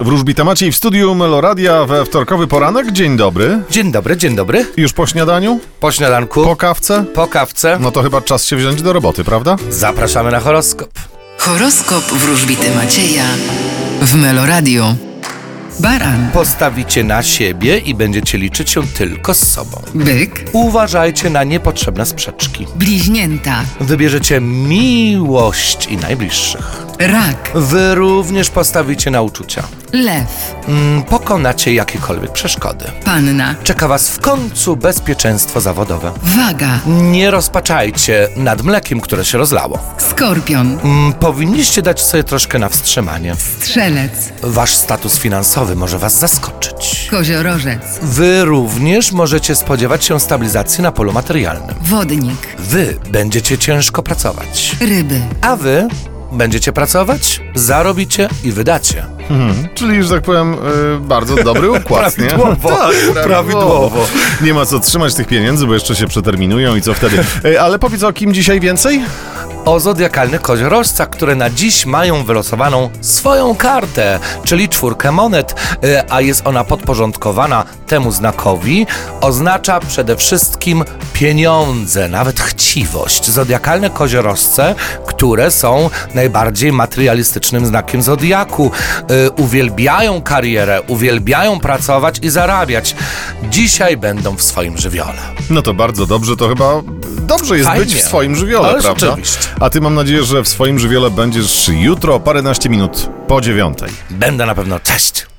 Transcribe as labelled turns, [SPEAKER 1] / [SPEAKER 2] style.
[SPEAKER 1] Wróżbita Maciej w studium Meloradia we wtorkowy poranek. Dzień dobry.
[SPEAKER 2] Dzień dobry, dzień dobry.
[SPEAKER 1] Już po śniadaniu?
[SPEAKER 2] Po śniadanku,
[SPEAKER 1] Po
[SPEAKER 2] po,
[SPEAKER 1] kawce?
[SPEAKER 2] kawce,
[SPEAKER 1] No to chyba czas się wziąć do roboty, prawda?
[SPEAKER 2] zapraszamy na horoskop.
[SPEAKER 3] Horoskop wróżbity Macieja w Meloradio. Baran,
[SPEAKER 2] Postawicie na siebie i będziecie liczyć się tylko z sobą.
[SPEAKER 3] byk,
[SPEAKER 2] Uważajcie na niepotrzebne sprzeczki.
[SPEAKER 3] bliźnięta,
[SPEAKER 2] Wybierzecie miłość i najbliższych.
[SPEAKER 3] rak,
[SPEAKER 2] Wy również postawicie na uczucia.
[SPEAKER 3] lew,
[SPEAKER 2] Mm, Pokonacie jakiekolwiek przeszkody.
[SPEAKER 3] panna,
[SPEAKER 2] Czeka Was w końcu bezpieczeństwo zawodowe.
[SPEAKER 3] waga,
[SPEAKER 2] Nie rozpaczajcie nad mlekiem, które się rozlało.
[SPEAKER 3] skorpion,
[SPEAKER 2] Mm, Powinniście dać sobie troszkę na wstrzymanie.
[SPEAKER 3] strzelec,
[SPEAKER 2] Wasz status finansowy może Was zaskoczyć.
[SPEAKER 3] koziorożec,
[SPEAKER 2] Wy również możecie spodziewać się stabilizacji na polu materialnym.
[SPEAKER 3] wodnik,
[SPEAKER 2] Wy będziecie ciężko pracować.
[SPEAKER 3] ryby,
[SPEAKER 2] A Wy będziecie pracować, zarobicie i wydacie.
[SPEAKER 1] Czyli, że tak powiem, y, bardzo dobry układ, nie?
[SPEAKER 2] Prawidłowo, prawidłowo.
[SPEAKER 1] Nie ma co trzymać tych pieniędzy, bo jeszcze się przeterminują i co wtedy. Y, Ale powiedz o kim dzisiaj więcej?
[SPEAKER 2] O zodiakalnych koziorożcach, które na dziś mają wylosowaną swoją kartę, czyli czwórkę monet, y, a jest ona podporządkowana temu znakowi, oznacza przede wszystkim pieniądze, nawet chciwość. Zodiakalne koziorożce, które są najbardziej materialistycznym znakiem zodiaku, y, uwielbiają karierę, uwielbiają pracować i zarabiać. Dzisiaj będą w swoim żywiole.
[SPEAKER 1] No to bardzo dobrze, to chyba dobrze jest
[SPEAKER 2] Fajnie.
[SPEAKER 1] być w swoim żywiole,
[SPEAKER 2] Ależ
[SPEAKER 1] prawda?
[SPEAKER 2] oczywiście.
[SPEAKER 1] A ty mam nadzieję, że w swoim żywiole będziesz jutro o paręnaście minut po dziewiątej.
[SPEAKER 2] Będę na pewno. Cześć!